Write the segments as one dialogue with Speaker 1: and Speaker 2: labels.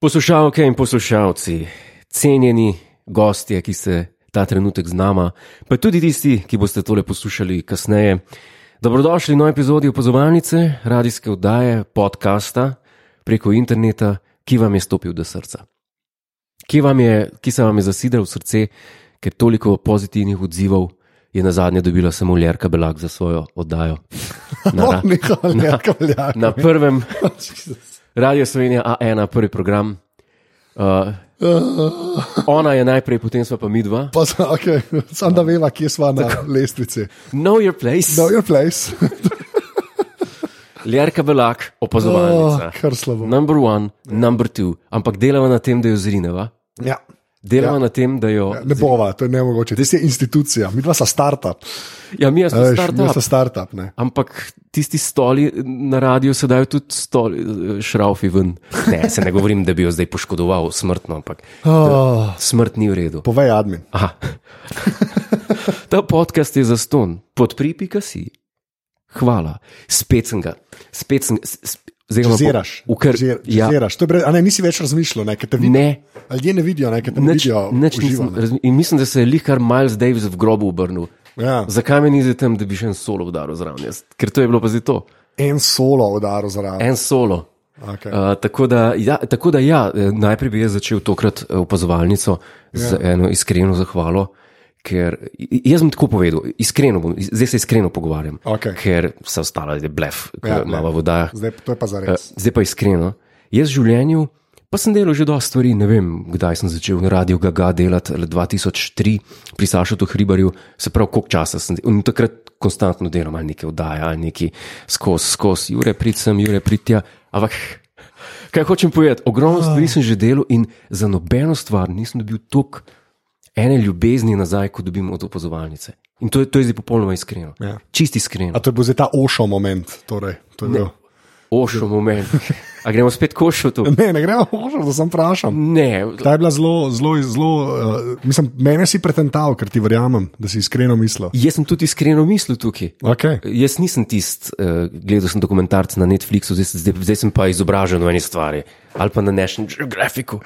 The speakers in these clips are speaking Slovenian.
Speaker 1: Poslušalke in poslušalci, cenjeni gostje, ki ste ta trenutek z nama, pa tudi tisti, ki boste tole poslušali kasneje. Dobrodošli v novi epizodi opazovalnice, radijske oddaje, podcasta preko interneta, ki vam je stopil do srca. Ki, vam je, ki se vam je zasidral v srce, ker toliko pozitivnih odzivov je na zadnje dobila samo Ljerka Belak za svojo oddajo. Na, ra-
Speaker 2: Nehal je kaveljak.
Speaker 1: na prvem, Radio Slovenija A1, prvi program. Uh, ona je najprej, potem smo pa mi dva.
Speaker 2: Pa sem, okay, sam da veva, kje smo na lestvici.
Speaker 1: Know your place,
Speaker 2: No, your place.
Speaker 1: Ljerka Belak,
Speaker 2: Oh,
Speaker 1: opazovalnica.
Speaker 2: kar slabo.
Speaker 1: Number one, number two, ampak delava na tem, da jo zrineva,
Speaker 2: Ja.
Speaker 1: delava ja. na tem, da jo.
Speaker 2: Ne bova, to je nemogoče. Ti si institucija, mi dva sta startup.
Speaker 1: Ja, mi smo
Speaker 2: Veš, Mi sta
Speaker 1: startup.
Speaker 2: startup. Ne.
Speaker 1: Ampak tisti stoli na radiju se dajo tudi stoli, eh, šraufi ven. Ne, se ne govorim, da bi jo zdaj poškodoval smrtno, ampak
Speaker 2: Oh,
Speaker 1: smrt ni v redu.
Speaker 2: povej, admin.
Speaker 1: Aha. Ta podcast je za ston, podpripika si. Hvala, spet sem ga, spet sem. s- s- zdaj ga bom-
Speaker 2: Ziraš,
Speaker 1: ukr- ja.
Speaker 2: ziraš. To je brez, a ne, nisi več razmišljal, ne, ker te vidijo.
Speaker 1: Ne,
Speaker 2: Ljudje ne vidijo, ne, ker te ne
Speaker 1: nič,
Speaker 2: vidijo.
Speaker 1: nič
Speaker 2: uživo,
Speaker 1: nisem
Speaker 2: ne.
Speaker 1: razumel. In mislim, da se je lihkar Miles Davis v grobu obrnil.
Speaker 2: Ja.
Speaker 1: Zakaj me nisi tam, da bi še en solo udaril zraven? Jaz? Ker to je bilo pa zdaj to,
Speaker 2: En solo udaril zraven.
Speaker 1: en solo.
Speaker 2: Okay.
Speaker 1: Uh, tako, da, ja, tako da, ja, eh, najprej bi jaz začel tokrat eh, opazovalnico yeah.
Speaker 2: Ja.
Speaker 1: z eno iskreno zahvalo, ker i- jaz bom tako povedal, iskreno bom, iz- zdaj se iskreno pogovarjam,
Speaker 2: Okej.
Speaker 1: ker vse ostalo je blef, ki ga
Speaker 2: Ja, ne.
Speaker 1: imamo v vodajah.
Speaker 2: Zdaj, to je pa za
Speaker 1: Eh,
Speaker 2: res.
Speaker 1: Zdaj pa iskreno. Jaz v življenju, pa sem delal že dosta stvari, ne vem, kdaj sem začel na radiju Gaga delati, ali 2003 pri Sašotu Hribarju, se pravi, koliko časa sem delal. In takrat konstantno delam ali neke vdaje, ali neki skozi, skozi, jure prid sem, jure prid tja. Ampak, kaj hočem povedati, ogromno stvari sem že delal in za nobeno stvar nisem dobil toliko ene ljubezni nazaj, kot dobim od opazovalnice. In to je, to je zdaj popolnoma iskreno.
Speaker 2: Ja.
Speaker 1: Čist iskreno.
Speaker 2: A to je bil zdaj ta ošo moment. Torej, to je bil.
Speaker 1: Ošo moment. A gremo spet košo tu?
Speaker 2: ne, ne gremo ošo, da sem vprašal.
Speaker 1: Ne,
Speaker 2: Ta je bila zelo, zelo, zelo. Uh, mislim, mene si pretental, ker ti verjamem, da si iskreno mislil.
Speaker 1: jaz sem tudi iskreno mislil tukaj.
Speaker 2: Okay.
Speaker 1: Jaz nisem tisti, uh, gledal sem dokumentarce na Netflixu, zdaj, zdaj, zdaj sem pa izobražen v eni stvari ali pa na National Geographicu.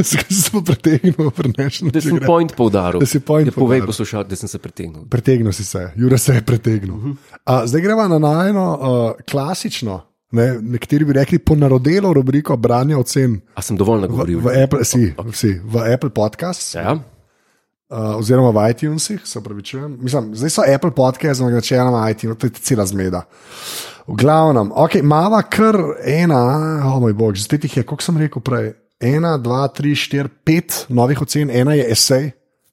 Speaker 2: Zakaj si se pa pretegnil, prenašal
Speaker 1: Da sem point poudaril.
Speaker 2: Da si point
Speaker 1: da povej
Speaker 2: poudaril.
Speaker 1: poslušalcem, da sem se pretegnil.
Speaker 2: Pretegnil si se, Jure se je pretegnil.
Speaker 1: Mhm.
Speaker 2: Uh -huh. uh, zdaj greva na najno uh, klasično, ne, nekateri bi rekli ponarodelo rubriko branja ocen.
Speaker 1: A sem dovolj nagovoril?
Speaker 2: V Apple, si, si, v Apple podcast, ja.
Speaker 1: Ja,
Speaker 2: uh, oziroma v iTunesih, se pravi, čujem. Mislim, zdaj so Apple podcast, ampak načeloma iTunes, to je cela zmeda. V glavnem, ok, mava kar ena, o oh moj bog, zdaj tih je, koliko sem rekel prej, ena, dva, tri, štiri, pet novih ocen, ena je esej,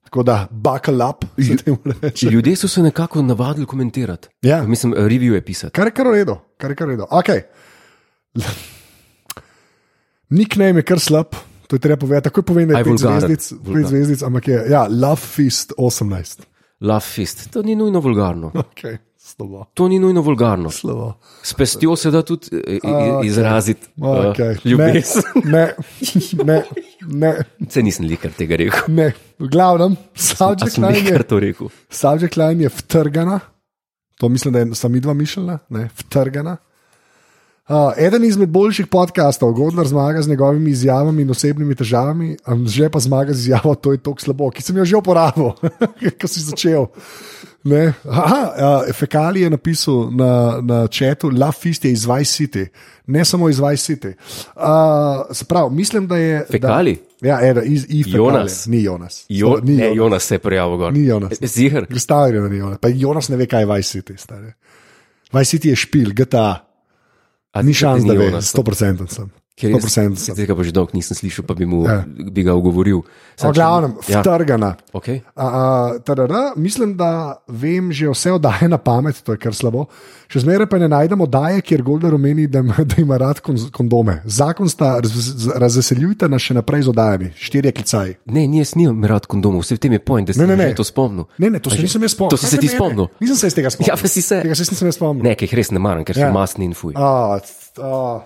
Speaker 2: tako da buckle up, se temu reče.
Speaker 1: ljudje so se nekako navadili komentirati.
Speaker 2: Ja.
Speaker 1: Mislim, review je pisati.
Speaker 2: Kar je kar v redu, kar je kar v redu. Okay. Nickname je kar slab, to je treba povedati. Takoj povem, da
Speaker 1: Aj,
Speaker 2: je pet
Speaker 1: vulgaren,
Speaker 2: zvezdic, pet
Speaker 1: vulgaren.
Speaker 2: zvezdic, ampak je, ja, Love Fist 18.
Speaker 1: Love fist. To ni nujno vulgarno.
Speaker 2: Okay. Slovo.
Speaker 1: To ni nujno vulgarno.
Speaker 2: Slovo.
Speaker 1: S pestjo se da tudi eh, i- i- izraziti
Speaker 2: Okay.
Speaker 1: uh, ljubezen.
Speaker 2: Ne, ne, ne,
Speaker 1: Se nisem likar tega rekel.
Speaker 2: ne, ne. V glavnem,
Speaker 1: A
Speaker 2: Subject
Speaker 1: sem
Speaker 2: Line je,
Speaker 1: likar to rekel.
Speaker 2: subject line je vtrgana, to mislim, da je sami dva mišljena, ne, vtrgana. Uh, eden izmed boljših podkastov, Godler zmaga z njegovimi izjavami in osebnimi težavami, že pa zmaga z izjavo, to je tako slabo, ki sem jo že uporabil, ko si začel. Ne. Aha, uh, Fekali je napisal na, na četu, Lafist je iz Vice City, ne samo iz Vice City. Uh, se pravi, mislim, da je.
Speaker 1: Fekali?
Speaker 2: Da, ja, eda, iz, iz
Speaker 1: Jonas.
Speaker 2: Ni Jonas.
Speaker 1: Jo,
Speaker 2: ni
Speaker 1: ne, Jonas se je prijavil gor. E,
Speaker 2: Ni Jonas.
Speaker 1: Zihar.
Speaker 2: Stavljen na Jonas. Pa Jonas ne ve, kaj je Vice City. Stari. Vice City je špil, GTA.
Speaker 1: A
Speaker 2: Ni
Speaker 1: ti
Speaker 2: šans,
Speaker 1: ni
Speaker 2: da ve,
Speaker 1: Jonas?
Speaker 2: 100% sem.
Speaker 1: Ker jaz
Speaker 2: 100% sem.
Speaker 1: Tega pa že dolgo nisem slišal, pa bi, mu,
Speaker 2: Ja.
Speaker 1: bi ga ogovoril.
Speaker 2: O glavnem,
Speaker 1: Ja.
Speaker 2: vtrgana.
Speaker 1: Okay.
Speaker 2: A, a, tarara, mislim, da vem že vse oddaje na pamet, to je kar slabo. Še zmeraj pa ne najdem oddaje, kjer Golder omeni, da, ima- da ima rad konz- kondome. Zakon sta raz, razveseljujte nas še naprej z oddajami, štirje klicaj.
Speaker 1: Ne, ni, jaz nimam rad kondomov, vse v tem je point, da se
Speaker 2: Ne, ne, ne.
Speaker 1: to spomnil.
Speaker 2: Ne, ne, to se nisem jaz spomnil.
Speaker 1: To si se
Speaker 2: Ne,
Speaker 1: ti
Speaker 2: ne, ne.
Speaker 1: spomnil.
Speaker 2: Nisem se iz tega spomnil.
Speaker 1: Ja, pa si se.
Speaker 2: Tega se jaz nisem jaz spomnil.
Speaker 1: Ne, ki jih res ne maram, ker so
Speaker 2: Ja.
Speaker 1: masni in fuj.
Speaker 2: Ah, c- ah,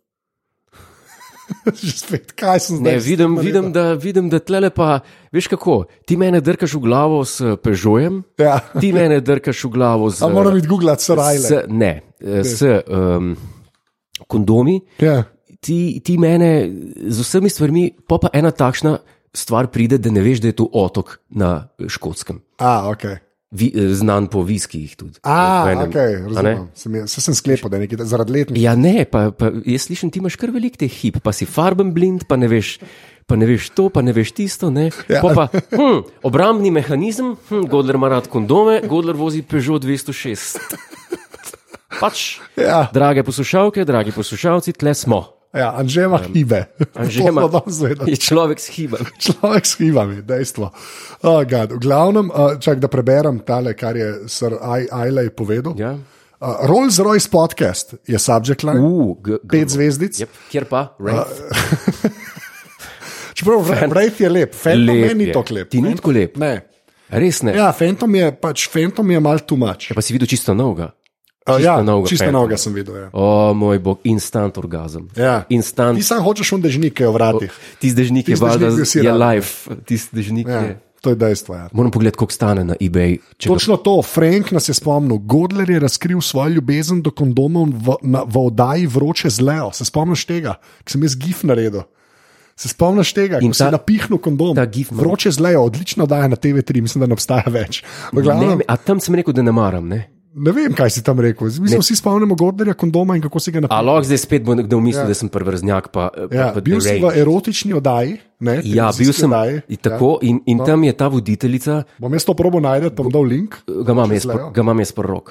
Speaker 2: Že spet, kaj sem zdaj?
Speaker 1: Ne, vidim, vidim, da, vidim, da tle pa, veš kako, ti mene drkaš v glavo s eh, Peugeotom,
Speaker 2: Ja.
Speaker 1: ti mene drkaš v glavo z.
Speaker 2: A moram iti googlati Sarajlaj.
Speaker 1: s, ne, eh, s um, kondomi,
Speaker 2: Ja.
Speaker 1: ti, ti mene z vsemi stvarmi, pa pa ena takšna stvar pride, da ne veš, da je to otok na škotskem.
Speaker 2: A, ok.
Speaker 1: Vi, eh, znan po viskih tudi.
Speaker 2: A,
Speaker 1: V enem,
Speaker 2: ok,
Speaker 1: a ne?
Speaker 2: Ah, razumem. Sem, jaz- saj sem sklepal, da je nekaj zaradi letnih.
Speaker 1: Ja, ne, pa, pa jaz slišim, ti imaš kar velik teh hip, pa si farben blind, pa ne veš. Pa ne veš to, pa ne veš tisto. Ne. Ja. Pa, hm, obrambni mehanizem, hm, Godler ima rad kondome, Godler vozi Peugeot 206. Pač,
Speaker 2: Ja,
Speaker 1: drage poslušalke, dragi poslušalci, tle smo.
Speaker 2: ja Anže ima hibe.
Speaker 1: Anže
Speaker 2: To smo
Speaker 1: ima-
Speaker 2: danes vedeli.
Speaker 1: Je človek s hibom.
Speaker 2: Človek s hibami, dejstvo. Oh, God. v glavnem, uh, čak, da preberem tale, kar je Sir Aj- Ajlaj povedal.
Speaker 1: Ja.
Speaker 2: Uh, Rolls Royce podcast je subject line,
Speaker 1: U, g- g-
Speaker 2: pet zvezdic.
Speaker 1: Yep. Kjer pa? Right.
Speaker 2: Čeprav Wraith je lep, Phantom
Speaker 1: Lep
Speaker 2: lep ni
Speaker 1: je.
Speaker 2: tako lep.
Speaker 1: Ti ni tako lep.
Speaker 2: Ne.
Speaker 1: Res ne. Ja.
Speaker 2: Ja, Phantom je pač Phantom je mal tumač.
Speaker 1: Pa si videl čisto novega.
Speaker 2: ja,
Speaker 1: novega
Speaker 2: čisto
Speaker 1: Phantoma.
Speaker 2: novega sem videl. Ja.
Speaker 1: O moj bog, instant orgazem.
Speaker 2: Ja.
Speaker 1: Instant
Speaker 2: Ti sam hočeš undežnike v vratih.
Speaker 1: Tisti dežnik je
Speaker 2: Tisti dežnik,
Speaker 1: valjda
Speaker 2: ki si
Speaker 1: je
Speaker 2: rabil.
Speaker 1: life, tisti dežnik ja.
Speaker 2: Ja,
Speaker 1: je.
Speaker 2: to je dejstvo. Ja.
Speaker 1: Moram pogledati, koliko stane na eBay. če ga-
Speaker 2: Točno to, Frank nas je spomnil. Godler je razkril svojo ljubezen do kondomov v, na, v oddaji vroče zlejo. Se spomniš tega, ki sem jaz gif naredil. Se spomniš tega,
Speaker 1: In
Speaker 2: ko si
Speaker 1: ta-
Speaker 2: napihnil kondom.
Speaker 1: ta gif no. ima-
Speaker 2: Vroče zlejo, odlično daje na TV3, mislim, da ne obstaja več.
Speaker 1: Ne,
Speaker 2: V Glavnem,
Speaker 1: ne,
Speaker 2: ne,
Speaker 1: a tam sem rekel, da ne maram. Ne?
Speaker 2: ne vem, kaj si tam rekel. Mi se vsi spomnimo Godlerja kondoma in kako si
Speaker 1: A
Speaker 2: ga napihnil.
Speaker 1: lahko zdaj spet bo nekdo mislil, ja. da sem prvrznjak. Pa, pa,
Speaker 2: Ja,
Speaker 1: pa
Speaker 2: bil si v
Speaker 1: deranged.
Speaker 2: erotični oddaji. Ne,
Speaker 1: ja, bil
Speaker 2: televizijski
Speaker 1: sem
Speaker 2: oddaji,
Speaker 1: in tako in, in no. tam je ta voditeljica,
Speaker 2: Ja. Bom jaz to probo najdel, pa bom dal link.
Speaker 1: ga imam jaz,
Speaker 2: zlejo.
Speaker 1: pr- ga imam jaz prvo rok.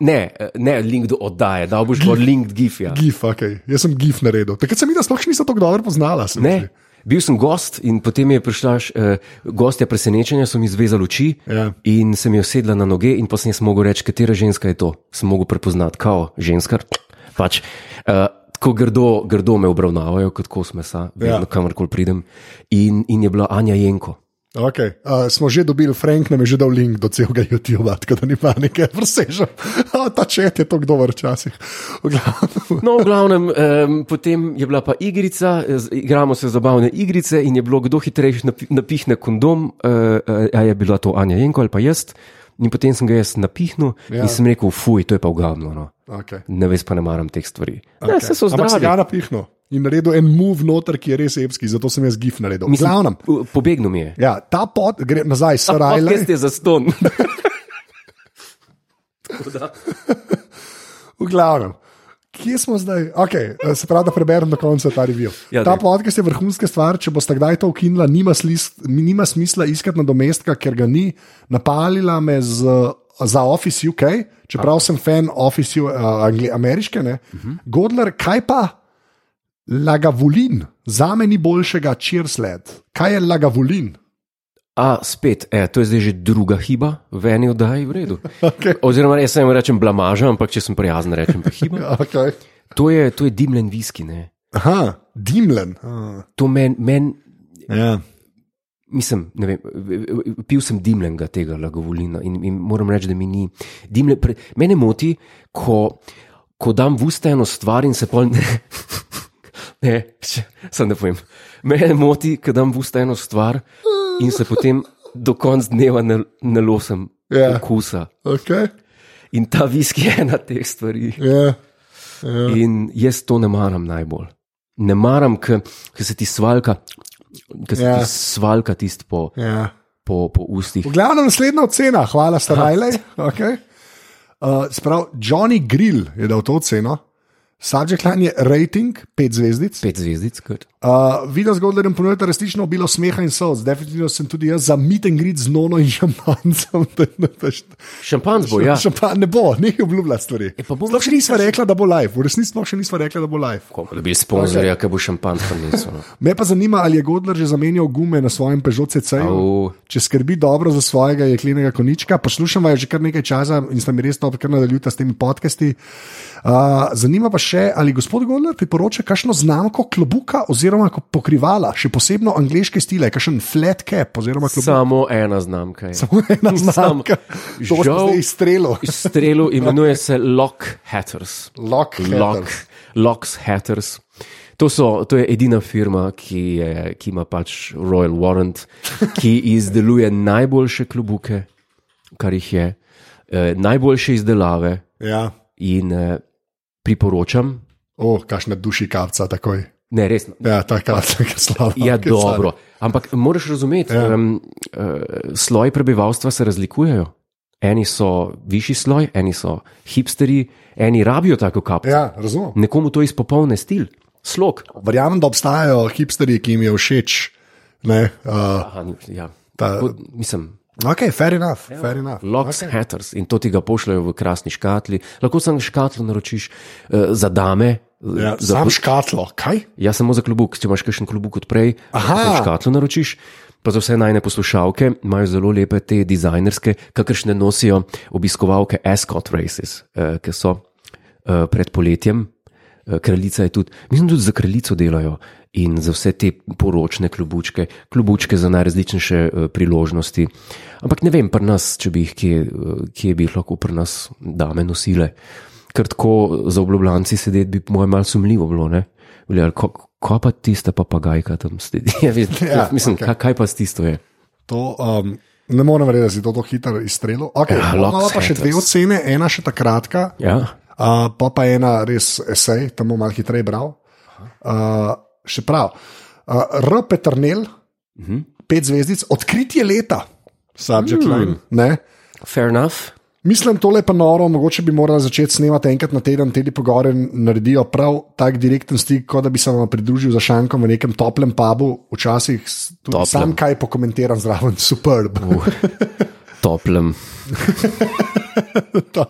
Speaker 1: Ne, eh, ne, link do oddaje, da boš gor link gif. Ja.
Speaker 2: Gif, okay. jaz sem gif naredil. Takrat sem videl, da sploh še nisem tako dobro poznala. se mi zdi.
Speaker 1: Ne. Bil sem gost in potem je prišla š- eh, gostja presenečenja, so mi zvezali oči
Speaker 2: Ja.
Speaker 1: in se mi je usedla na noge, in potem sem mogel reči, katera ženska je to. Sem mogel prepoznati, kao ženska. Pač, eh, tako grdo, grdo me obravnavajo, kot kos mesa, vedno,
Speaker 2: Ja.
Speaker 1: ja. kamorkoli pridem. In, in je bila Anja Jenko.
Speaker 2: Okay. Uh, smo že dobili, Frank nam je že dal link do celega YouTube, tako da ni panike, presežem. Uh, ta čet je to kdo včasih. V glavnem.
Speaker 1: No, v glavnem, um, potem je bila pa igrica, eh, z- igramo se zabavne igrice in je bilo, kdo hitrejši napi- napihne kondom, uh, a je bila to Anja Jenko ali pa jaz. In potem sem ga jaz napihnil ja.
Speaker 2: Ja.
Speaker 1: in sem rekel, fuj, to je pa ugamno. No.
Speaker 2: Okay.
Speaker 1: Ne veš, pa ne maram teh stvari. Okay. Ne, se so
Speaker 2: Ampak
Speaker 1: zdravi.
Speaker 2: sem ga napihnil in naredil en move noter, ki je res evski, zato sem jaz gif naredil. V glavnem,
Speaker 1: u- pobegnil mi je.
Speaker 2: ja, ta pot gre nazaj, Sarajle.
Speaker 1: Podcast je za ston.
Speaker 2: V glavnem. Kje smo zdaj? Okay, eh, se pravi, da preberem do konca ta review.
Speaker 1: Ja,
Speaker 2: ta
Speaker 1: daj.
Speaker 2: podcast je vrhunska stvar. Če boste kdaj to ukinila, nima, slist, nima smisla iskati nadomestka, ker ga ni. Napalila me z, za Office UK, čeprav sem fan Office uh, angli, ameriške. Uh -huh. Godler, kaj pa Lagavulin? Za me ni boljšega čirsled. Kaj je Lagavulin?
Speaker 1: A spet, e, to je zdaj že druga hiba, v eni oddaji v redu. Okay. Oziroma, jaz sem rečem blamaža, ampak če sem prijazen, rečem pa hiba.
Speaker 2: Okay.
Speaker 1: To je, to je dimljen viski, ne.
Speaker 2: Aha, dimlen. Ah,
Speaker 1: To meni, men,
Speaker 2: ja.
Speaker 1: mislim, ne vem, pil sem dimljenega tega lagovolina in, in moram reči, da mi ni. Dimle, pre, mene moti, ko, ko dam v usta eno stvar in se pol ne. Ne, če- samo da povem. Mene moti, ko dam v usta eno stvar in se potem do konca dneva ne, ne losem
Speaker 2: Ja.
Speaker 1: yeah. okusa.
Speaker 2: Okay.
Speaker 1: In ta viski je ena teh stvari.
Speaker 2: Yeah. Ja.
Speaker 1: In jaz to ne maram najbolj. Ne maram, ker se ti svalka, ker se
Speaker 2: Ja.
Speaker 1: yeah. ti svalka tisto po,
Speaker 2: Yeah.
Speaker 1: po, po ustih.
Speaker 2: V glavnem naslednja ocena, hvala Starajle. Okay. Uh, sprav, Johnny Grill je dal to oceno. Subject line je rating, pet zvezdic.
Speaker 1: Pet zvezdic, kot.
Speaker 2: Uh, Videla zgodovina ponudila resnično obilo smeha in solz. Definitivno sem tudi jaz za meet and greet z nono in šampancem. da ne veš-
Speaker 1: Šampanc bo, ja.
Speaker 2: Šampan ne bo, ne obljubila stvari.
Speaker 1: E, pa bomo
Speaker 2: Sploh še nismo rekla, da bo live, v resnici sploh še nismo rekla, da bo live.
Speaker 1: Ko bomo dobili sponzorja, ki ja, bo šampanc prinesel. no.
Speaker 2: Me pa zanima, ali je Godler že zamenjal gume na svojem Peugeot CC-ju.
Speaker 1: Au.
Speaker 2: Če skrbi dobro za svojega jeklenega konička, poslušam vas že kar nekaj časa in sta mi res to kar nadaljuta s temi podcasti. Uh, zanima pa še, ali gospod Gondar ti poroča, kakšno znamko klobuka oziroma ko- pokrivala, še posebno angliške stile, kakšen flat cap oziroma klobuk.
Speaker 1: Samo ena znamka je.
Speaker 2: Samo ena znamka. To boš pa
Speaker 1: žal-
Speaker 2: zdaj izstrelil.
Speaker 1: Strelu imenuje se Lock Hatters.
Speaker 2: Lock
Speaker 1: Lock,
Speaker 2: Hatters.
Speaker 1: Locks Hatters. To, so, to je edina firma, ki, je, ki ima pač Royal Warrant, ki izdeluje najboljše klobuke, kar jih je, eh, najboljše izdelave
Speaker 2: Ja,
Speaker 1: in eh, priporočam.
Speaker 2: o, kakšne duši kapca takoj.
Speaker 1: Ne, resno,
Speaker 2: Ja, ta kapca je slaba.
Speaker 1: Ja,
Speaker 2: Ke slaba.
Speaker 1: dobro. Ampak moraš razumeti, ja. um, uh, sloji prebivalstva se razlikujejo. Eni so višji sloj, eni so hipsteri, eni rabijo tako kapo. Ja.
Speaker 2: Ja, razumem.
Speaker 1: Nekomu to izpopolne stil, slog.
Speaker 2: Verjamem, da obstajajo hipsteri, ki jim je všeč. Ne, uh,
Speaker 1: Aha, ni- ja.
Speaker 2: Ta-
Speaker 1: Tako, Mislim,
Speaker 2: ok, fair enough. Fair enough.
Speaker 1: Locks, okay. hatters in to ti ga pošljajo v krasni škatli. Lahko samo škatlo naročiš uh, za dame.
Speaker 2: Ja,
Speaker 1: za,
Speaker 2: sam škatlo, kaj?
Speaker 1: Jaz samo za klobuk, če imaš kakšen klobuk od prej,
Speaker 2: Aha.
Speaker 1: lahko škatlo naročiš. Pa za vse najne poslušalke imajo zelo lepe te dizajnerske, kakršne nosijo obiskovalke Escot Races, eh, ki so eh, pred poletjem. Eh, Kraljica je tudi, mislim, tudi za kraljico delajo in za vse te poročne klobučke, klobučke za najrazličnejše eh, priložnosti. Ampak ne vem, pri nas, če bi jih kje, eh, kje bi jih lahko pri nas dame nosile. Ker tako eh, za oblobljanci sedeti bi, po mojem, malo sumljivo bilo. Ne? Bili, ali ko, ko pa tista papagajka tam sedi? Ja, veš,
Speaker 2: Ja,
Speaker 1: ja, mislim, okay. kaj, kaj pa s tisto je?
Speaker 2: To, um, ne morem verjeti, da si to tako hitro izstrelil. Okay,
Speaker 1: Ja,
Speaker 2: ja, Imamo
Speaker 1: Locks
Speaker 2: pa še dve
Speaker 1: Hatters.
Speaker 2: ocene, ena še ta kratka,
Speaker 1: Ja,
Speaker 2: uh, pa pa ena res esej, tam bom malo hitreje bral. Uh, še prav. Uh, R. Petrnel, uh
Speaker 1: Mhm.
Speaker 2: -huh. pet zvezdic, odkritje leta, subject mm. line. Ne?
Speaker 1: fair enough.
Speaker 2: Mislim, tole pa noro, mogoče bi morali začeti snemati enkrat na teden, te pogovore naredijo prav tak direkten stik, kot da bi se vam pridružil za šankom v nekem toplem pubu, včasih s- tudi
Speaker 1: Toplem. Uh.
Speaker 2: sam kaj pokomentiram zraven, superb.
Speaker 1: Toplem.
Speaker 2: To.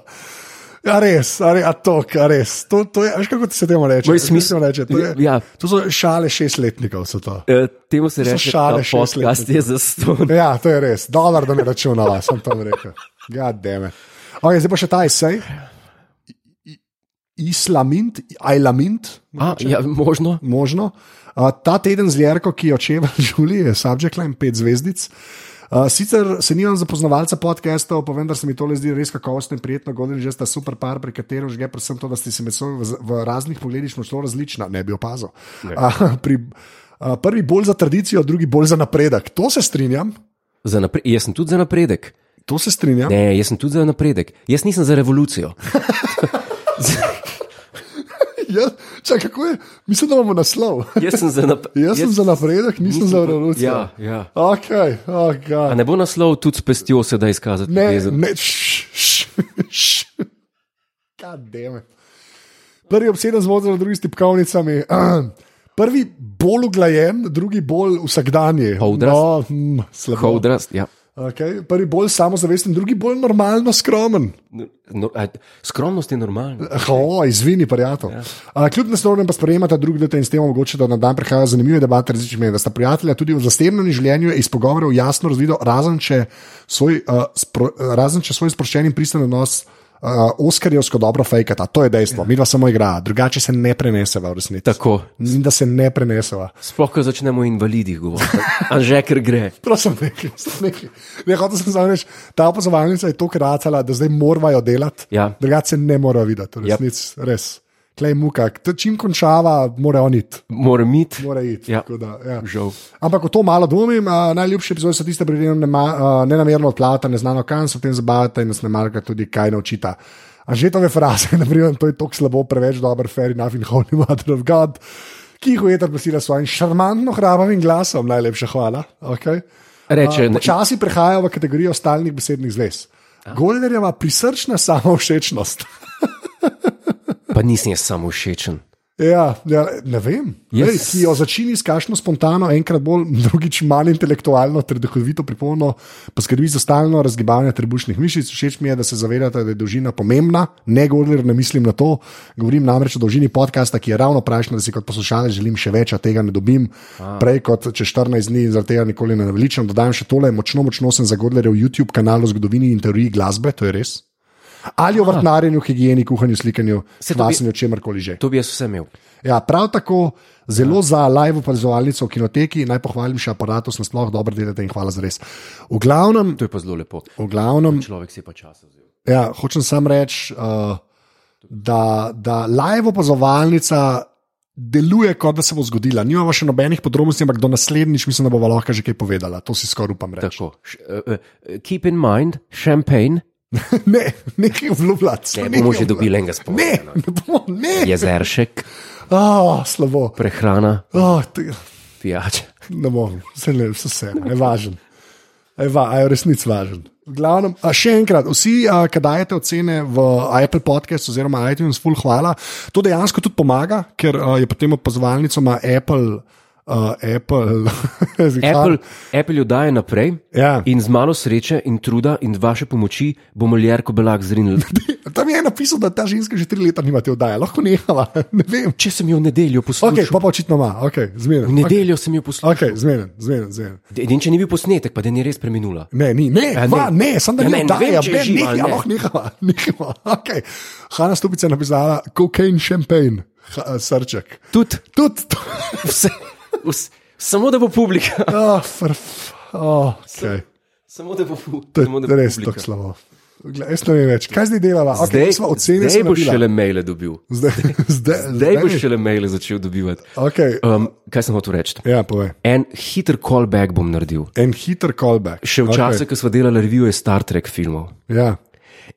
Speaker 2: Ja, res, a, re, a tok, a res. To, to je, a veš, kako se temu reče?
Speaker 1: Moj
Speaker 2: Kako
Speaker 1: smisel-
Speaker 2: se temu reče? To, je,
Speaker 1: Ja.
Speaker 2: to so šale šestletnikov. so to.
Speaker 1: E, temu se
Speaker 2: so
Speaker 1: reče, da
Speaker 2: šale
Speaker 1: je podcast je za ston.
Speaker 2: Ja, to je res. Dolar, da ne računava, sem tam rekel. Gademe. Okay, zdaj pa še ta esej. I- Islamint, ajlamint,
Speaker 1: A, ja, možno.
Speaker 2: možno. Uh, ta teden z Jerko, ki jo čeva Žuli, je subject line 5 zvezdic. Uh, sicer se nimam za poznavalca podcastov, pa vendar se mi tole zdi res kakovostno in prijetno, govorim že, da sta super par, pri katerem že gre predvsem to, da ste si med seboj v, z- v raznih pogledih močno različna, ne bi opazil. Uh, pri, uh, prvi bolj za tradicijo, drugi bolj za napredek. To se strinjam,
Speaker 1: Za napre- Jaz sem tudi za napredek.
Speaker 2: to se strinjam.
Speaker 1: Ne, jaz sem tudi za napredek. Jaz nisem za revolucijo.
Speaker 2: Ja, čak, kako je? Mislim, da imamo naslov.
Speaker 1: Jaz sem za napredek.
Speaker 2: Jaz sem za napredek, nisem za revolucijo.
Speaker 1: Ja, ja.
Speaker 2: Okay, oh
Speaker 1: A
Speaker 2: God.
Speaker 1: ne bo naslov tudi s pestjo sedaj izkazati?
Speaker 2: Ne,
Speaker 1: ljubezen?
Speaker 2: ne, škademe. Prvi obseden z vodom, drugi s tipkovnicami. Prvi bolj uglajen, drugi bolj vsakdanji.
Speaker 1: Holdrast.
Speaker 2: No, mm,
Speaker 1: Ko
Speaker 2: slabo.
Speaker 1: odrast, ja.
Speaker 2: Okay. Prvi bolj samozavesten, drugi bolj normalno skromen.
Speaker 1: No, a, skromnost je normalna.
Speaker 2: Ho, izvini, prijatelj. Ja. Kljub naslovnem pa sprejemata drug drugega in s tem omogoča, da na dan prihajajo zanimive debate različnih mnen, da sta prijatelja tudi v zasebnem življenju je iz pogovorov jasno razvidno, razen če svoj, uh, spro, razen če svoj sproščen in pristen odnos. Uh, Oskarjevsko dobro fejkata, to je dejstvo, mi dva samo igra, drugače se ne preneseva v resnici.
Speaker 1: Tako.
Speaker 2: Mislim, Da se ne preneseva.
Speaker 1: Sploh, ko začnemo o invalidih govoriti, anže ker gre.
Speaker 2: Prosim, nekaj, nekaj. Ne, hotel sem samo reči, ta opazovalnica je to kracala, da zdaj morajo delati,
Speaker 1: Ja.
Speaker 2: drugače se ne morajo videti,
Speaker 1: Yep.
Speaker 2: resnic, yep. res. Klej muka, K- čim končava, mora on iti.
Speaker 1: Moram iti.
Speaker 2: Mora iti
Speaker 1: Ja.
Speaker 2: tako da, ja.
Speaker 1: Žal.
Speaker 2: Ampak v to malo dvomim, a, najljubše epizode so tiste, pri katerih nenamerno odplavata, ne znano kam se v tem zabavata in nas ne marka tudi kaj naučita. Anžetove fraze, naprimer, to je tako slabo, preveč dober, fair enough in holy mother of God, ki jih ujeter prisila s svojim šarmantno hrabavim glasom, najlepša hvala. Okay.
Speaker 1: Reče, E, ne, Ja.
Speaker 2: Počasi prehajajo v kategorijo stalnih besednih zvez. Golderjeva prisrčna samovšečnost.
Speaker 1: pa nisem jaz samo všečen.
Speaker 2: Ja, ja, ne vem.
Speaker 1: Jaz-
Speaker 2: Yes. Ki jo začini s kakšno spontano, enkrat bolj, drugič manj intelektualno, ter duhovito pripomno, poskrbi za stalno razgibanje trebušnih mišic. Všeč mi je, da se zavedate, da je dolžina pomembna. Ne govorim, ne mislim na to. Govorim namreč o dolžini podcasta, ki je ravno prajšnja, da si kot poslušalec želim še več, a tega ne dobim. A. Prej kot čez 14 dni in zaradi tega nikoli ne naveličam. Dodajam še tole, močno, močno sem za Godlerjev YouTube kanal o zgodovini in teoriji glasbe, to je res. Ali o vrtnarjenju, higieni, kuhanju, slikanju,
Speaker 1: Se to bi-
Speaker 2: kvasanju, čemkoli že.
Speaker 1: To bi jaz vse imel.
Speaker 2: Ja, prav tako zelo za live opazovalnico v kinoteki, naj pohvalim še aparatus, nasploh dobro delate in hvala za res. V glavnem,
Speaker 1: To je pa zelo lepo.
Speaker 2: v glavnem
Speaker 1: Človek si je pa čas vzel.
Speaker 2: ja, hočem sam reči, uh, da, da live opazovalnica deluje, kot da se bo zgodila. Nimamo še nobenih podrobnosti, ampak do naslednjič mislim, da bo lahko že kaj povedala. To si skoraj upam reči.
Speaker 1: Tako. Š, uh, uh, keep in mind, champagne,
Speaker 2: ne, nekaj obljubljati.
Speaker 1: ne bomo že dobili enega no. spomina.
Speaker 2: Ne, ne bomo, ne.
Speaker 1: Jezeršek,
Speaker 2: Oh, slabo.
Speaker 1: prehrana,
Speaker 2: Oh, tega.
Speaker 1: pijača.
Speaker 2: Ne morem, vse ne, vse se, ne važen. Je va, a je v resnici važen. V Glavnem, a še enkrat, vsi, a, ki dajete ocene v Apple podcastu oziroma iTunes, full hvala. To dejansko tudi pomaga, ker a, je potem opazovalnico ima Apple. Uh, Apple,
Speaker 1: Apple, Apple jo daje naprej
Speaker 2: Ja.
Speaker 1: in z malo sreče in truda in vaše pomoči bomo Ljerko Belak zrinili.
Speaker 2: Tam je napisal, da ta ženska že tri leta nima te oddaje, lahko nehala. Ne vem.
Speaker 1: Če sem jo v nedeljo poslušal,
Speaker 2: Okay, pa pa očitno ima, okay,
Speaker 1: v
Speaker 2: zmeren.
Speaker 1: nedeljo sem jo poslušal.
Speaker 2: Okay, zmeren, zmeren, zmeren.
Speaker 1: Edin, če ni bil posnetek, pa da ni res preminula.
Speaker 2: Ne, ni, ne,
Speaker 1: ne.
Speaker 2: ne. Va, ne sem
Speaker 1: Ja,
Speaker 2: da
Speaker 1: ne,
Speaker 2: ne
Speaker 1: ne vem,
Speaker 2: oddaja,
Speaker 1: če je
Speaker 2: ne,
Speaker 1: živa ali
Speaker 2: ne,
Speaker 1: ne.
Speaker 2: ne, nehava, nehava. Okay. Hanna Stupica je napisala kokain, šampanj, eh, srček.
Speaker 1: Tudi
Speaker 2: Tudi to.
Speaker 1: vse, vse, samo da bo publika.
Speaker 2: Oh, frf, oh, okay.
Speaker 1: Samo da bo, pu-
Speaker 2: To
Speaker 1: samo da bo
Speaker 2: je res tako
Speaker 1: publika.
Speaker 2: slabo. Glej, Jaz ne vem več, kaj zdaj delava. Okay, zdaj smo ocenili,
Speaker 1: zdaj boš
Speaker 2: zdaj,
Speaker 1: šele maile dobil.
Speaker 2: zdaj, zdaj,
Speaker 1: Zdaj boš šele maile začel dobivati.
Speaker 2: Okay.
Speaker 1: Um, kaj sem hotel reči?
Speaker 2: Ja, povej.
Speaker 1: En hiter callback bom naredil.
Speaker 2: En hiter callback.
Speaker 1: Še v času, okay. ko smo delali revijo Star Trek filmov.
Speaker 2: Okay. Ja,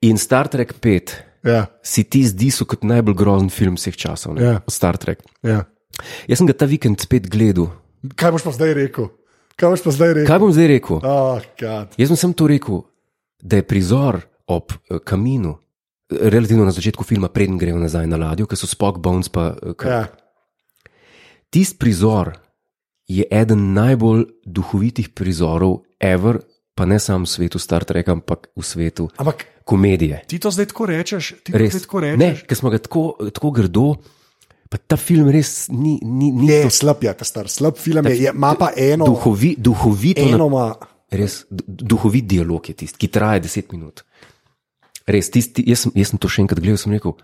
Speaker 1: In Star Trek 5
Speaker 2: ja,
Speaker 1: si ti zdi so kot najbolj grozen film vseh časov, ne?
Speaker 2: Ja.
Speaker 1: Star Trek.
Speaker 2: ja.
Speaker 1: Jaz sem ga ta vikend spet gledal.
Speaker 2: Kaj boš pa zdaj rekel? Kaj boš pa zdaj rekel?
Speaker 1: Kaj bom zdaj rekel?
Speaker 2: Oh, God.
Speaker 1: Jaz sem samo to rekel, da je prizor ob eh, kaminu, eh, relativno na začetku filma, preden grejo nazaj na ladjo, ker so Spock, Bones pa eh, kaj.
Speaker 2: ja,
Speaker 1: Tisti prizor je eden najbolj duhovitih prizorov, ever, pa ne samo v svetu Star Treka, ampak v svetu
Speaker 2: ampak
Speaker 1: komedije.
Speaker 2: Ti to zdaj tako rečeš, ti to zdaj
Speaker 1: Res,
Speaker 2: tako
Speaker 1: ne,
Speaker 2: rečeš.
Speaker 1: ker smo ga tako, tako grdo, pa ta film res ni, ni, ni
Speaker 2: Ne, slab je ta star, slab film je, je ima pa eno,
Speaker 1: duhovi, duhovito.
Speaker 2: no. eno ima.
Speaker 1: Res, d- duhovit dialog je tisti, ki traja deset minut. Res, tisti, jaz, sem- jaz sem to še enkrat gledal, sem rekel,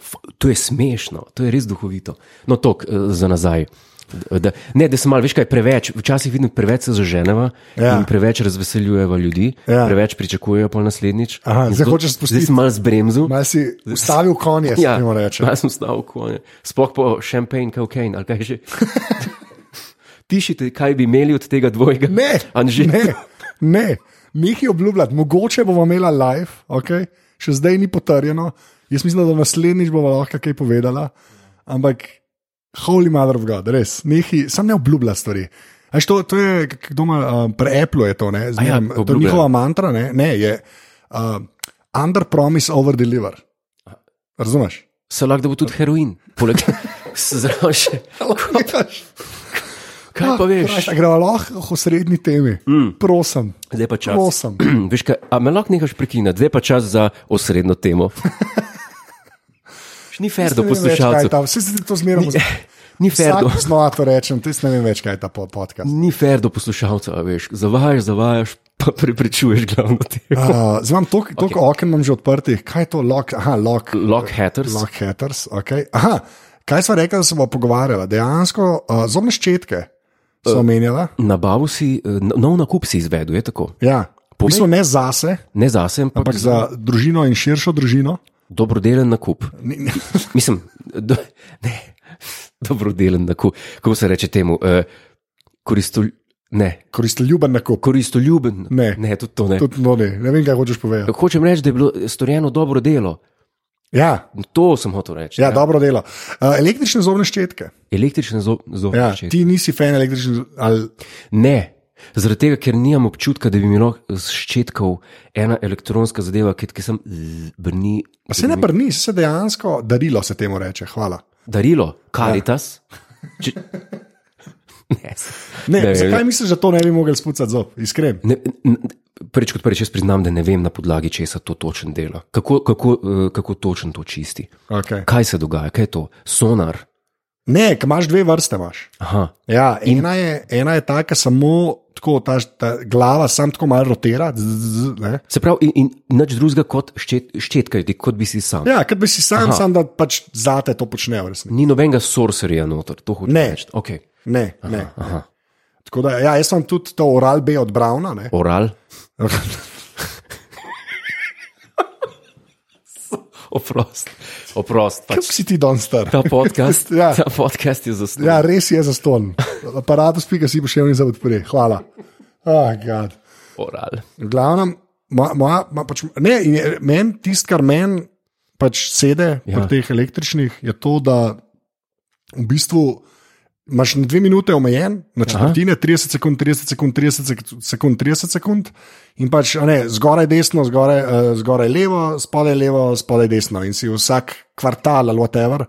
Speaker 1: "F- to je smešno, to je res duhovito. No, tok za nazaj. Da, ne, da sem malo več kaj preveč, včasih vidim preveč se zaženeva ja.
Speaker 2: Ja.
Speaker 1: in preveč razveseljujeva ljudi, ja.
Speaker 2: Ja.
Speaker 1: preveč pričakujejo pa naslednjič.
Speaker 2: Aha,
Speaker 1: In
Speaker 2: zdaj
Speaker 1: zato-
Speaker 2: hočeš spustiti.
Speaker 1: Zdaj sem malo zbremzel.
Speaker 2: Mal si ustavil konje, ja, se mu reče.
Speaker 1: Jaz sem stal v konju, spoh po šampanj, kokain ali kaj že. Pišite, kaj bi imeli od tega dvojega.
Speaker 2: Ne,
Speaker 1: Anže.
Speaker 2: ne, ne, nekaj obljubljati, mogoče bomo imela live, okay? še zdaj ni potrjeno. Jaz mislim, da do naslednjič bomo lahko kaj povedala, ampak holy mother of God, res, nekaj, sam ne obljublja stvari. A to, to je, k- kdo ima, um, pri Apple je to, ne,
Speaker 1: ja,
Speaker 2: Zmeram, to je
Speaker 1: obljubljajo.
Speaker 2: njihova mantra, ne, ne je uh, under promise, over deliver. Razumeš?
Speaker 1: Se lahko da bo tudi heroin, poleg tega še. Kaj
Speaker 2: Ja,
Speaker 1: pa veš?
Speaker 2: Gremo lahko o srednji temi, mm. prosim.
Speaker 1: Zdaj pa čas.
Speaker 2: Prosim.
Speaker 1: veš kaj, a me lahko nehaš prekiniti, zdaj pa čas za osrednjo temo. Še ni fer do
Speaker 2: Ne vem več, kaj je
Speaker 1: poslušalcev.
Speaker 2: ta- Vse se to zmeraj
Speaker 1: Ni fer do,
Speaker 2: Vsak znova to rečem, ti ne vem več, kaj je ta po- podcast.
Speaker 1: ni fer do poslušalcev, a veš. Zavajaš, zavajaš, pa preprečuješ glavno temo.
Speaker 2: Uh, zdaj imam toliko okay. oken, imam že odprtih. Kaj je to, lock, aha, lock,
Speaker 1: Lock hatters.
Speaker 2: lock haters? Okay. Aha, kaj smo rekli, da se bomo pogovarjali? Dejansko uh, zobne ščetke
Speaker 1: Eh.
Speaker 2: so omenjala.
Speaker 1: Nabavil si, eh, no- nov nakup si izvedel, je tako.
Speaker 2: Ja. V bistvu ne zase,
Speaker 1: Ne zase, ampak
Speaker 2: ampak za družino in širšo družino.
Speaker 1: dobrodelen nakup.
Speaker 2: Ni- ni-
Speaker 1: Mislim, do, ne, dobrodelen nakup. Kako se reče temu? Uh, koristol, ne,
Speaker 2: Koristoljuben nakup.
Speaker 1: koristoljuben.
Speaker 2: Ne.
Speaker 1: ne tudi to ne. Tud...
Speaker 2: Tudi no, ne, ne vem, kaj hočeš povedati.
Speaker 1: Hočem reči, da je bilo storjeno dobro delo.
Speaker 2: Ja,
Speaker 1: To sem hotel reči.
Speaker 2: ja, dobro delo. Uh, električne zobne ščetke.
Speaker 1: Električne zobne ja,
Speaker 2: Ja,
Speaker 1: ti...
Speaker 2: ti nisi fan električnih ali
Speaker 1: ne. Zaradi tega, ker nimam občutka, da bi mi lahko ščetkal ena elektronska zadeva, ki, ki sem z- brni.
Speaker 2: Pa se ne brni, saj se dejansko darilo se temu reče. Hvala.
Speaker 1: Darilo, karitas. Ja. Če... Ne, ne,
Speaker 2: Ne,
Speaker 1: ja.
Speaker 2: ne, zakaj
Speaker 1: ne.
Speaker 2: ne. misliš, da to ne bi mogel spucati zob, iskren?
Speaker 1: Ne, n- n- Prvič kot prvič, jaz priznam, da ne vem na podlagi česa to točno dela. Kako, kako, eh, kako točno to čisti.
Speaker 2: Okay.
Speaker 1: Kaj se dogaja, kaj je to? Sonar,
Speaker 2: Ne, ki imaš dve vrste. Imaš.
Speaker 1: Aha.
Speaker 2: Ja, ena, je, ena je ta, ki samo tako, ta, ta glava sam tako malo rotira. Z, z, z, ne.
Speaker 1: Se pravi, in, in nič drugega kot ščet, ščetkaj, kot bi si sam.
Speaker 2: ja, kot bi si sam, Aha. sam da pač zate to počne v resnici.
Speaker 1: Ni nobenega sorcerja noter, to hočeš
Speaker 2: Ne.
Speaker 1: reči. Okay.
Speaker 2: Ne, ne.
Speaker 1: Aha.
Speaker 2: Tako da, ja, jaz sem tudi to oral B od Brauna. ne.
Speaker 1: Oral. Oprost, oprost. Pač.
Speaker 2: Kako si ti danes star?
Speaker 1: Ta podcast, ja.
Speaker 2: Ja.
Speaker 1: ta podcast je zasnovan.
Speaker 2: Ja, res je za ston. Aparatus, pika si boš imel in za podpore. Hvala. Oh, God.
Speaker 1: Oral.
Speaker 2: V glavnem, moja, moja, moja, pač, ne, in je- meni tisto, kar meni pač sede ja.
Speaker 1: Ja.
Speaker 2: pri teh električnih, je to, da v bistvu imaš na dve minute omejen, na četrtine, 30 sekund, 30 sekund, 30 sek- sekund, 30 sekund in pač a ne, zgoraj desno, zgoraj, eh, zgoraj levo, spodaj levo, spodaj desno in si vsak kvartal ali whatever.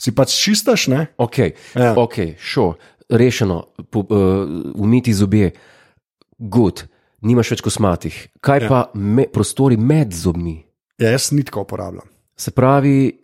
Speaker 2: Si pač čistaš, ne?
Speaker 1: Ok, ja.
Speaker 2: Ja.
Speaker 1: ok, šo, rešeno, po, uh, umiti zobje, gut, nimaš več kosmatih. Kaj ja.
Speaker 2: Ja.
Speaker 1: pa me, prostori med zobmi?
Speaker 2: Ja, jaz nitko uporabljam.
Speaker 1: Se pravi,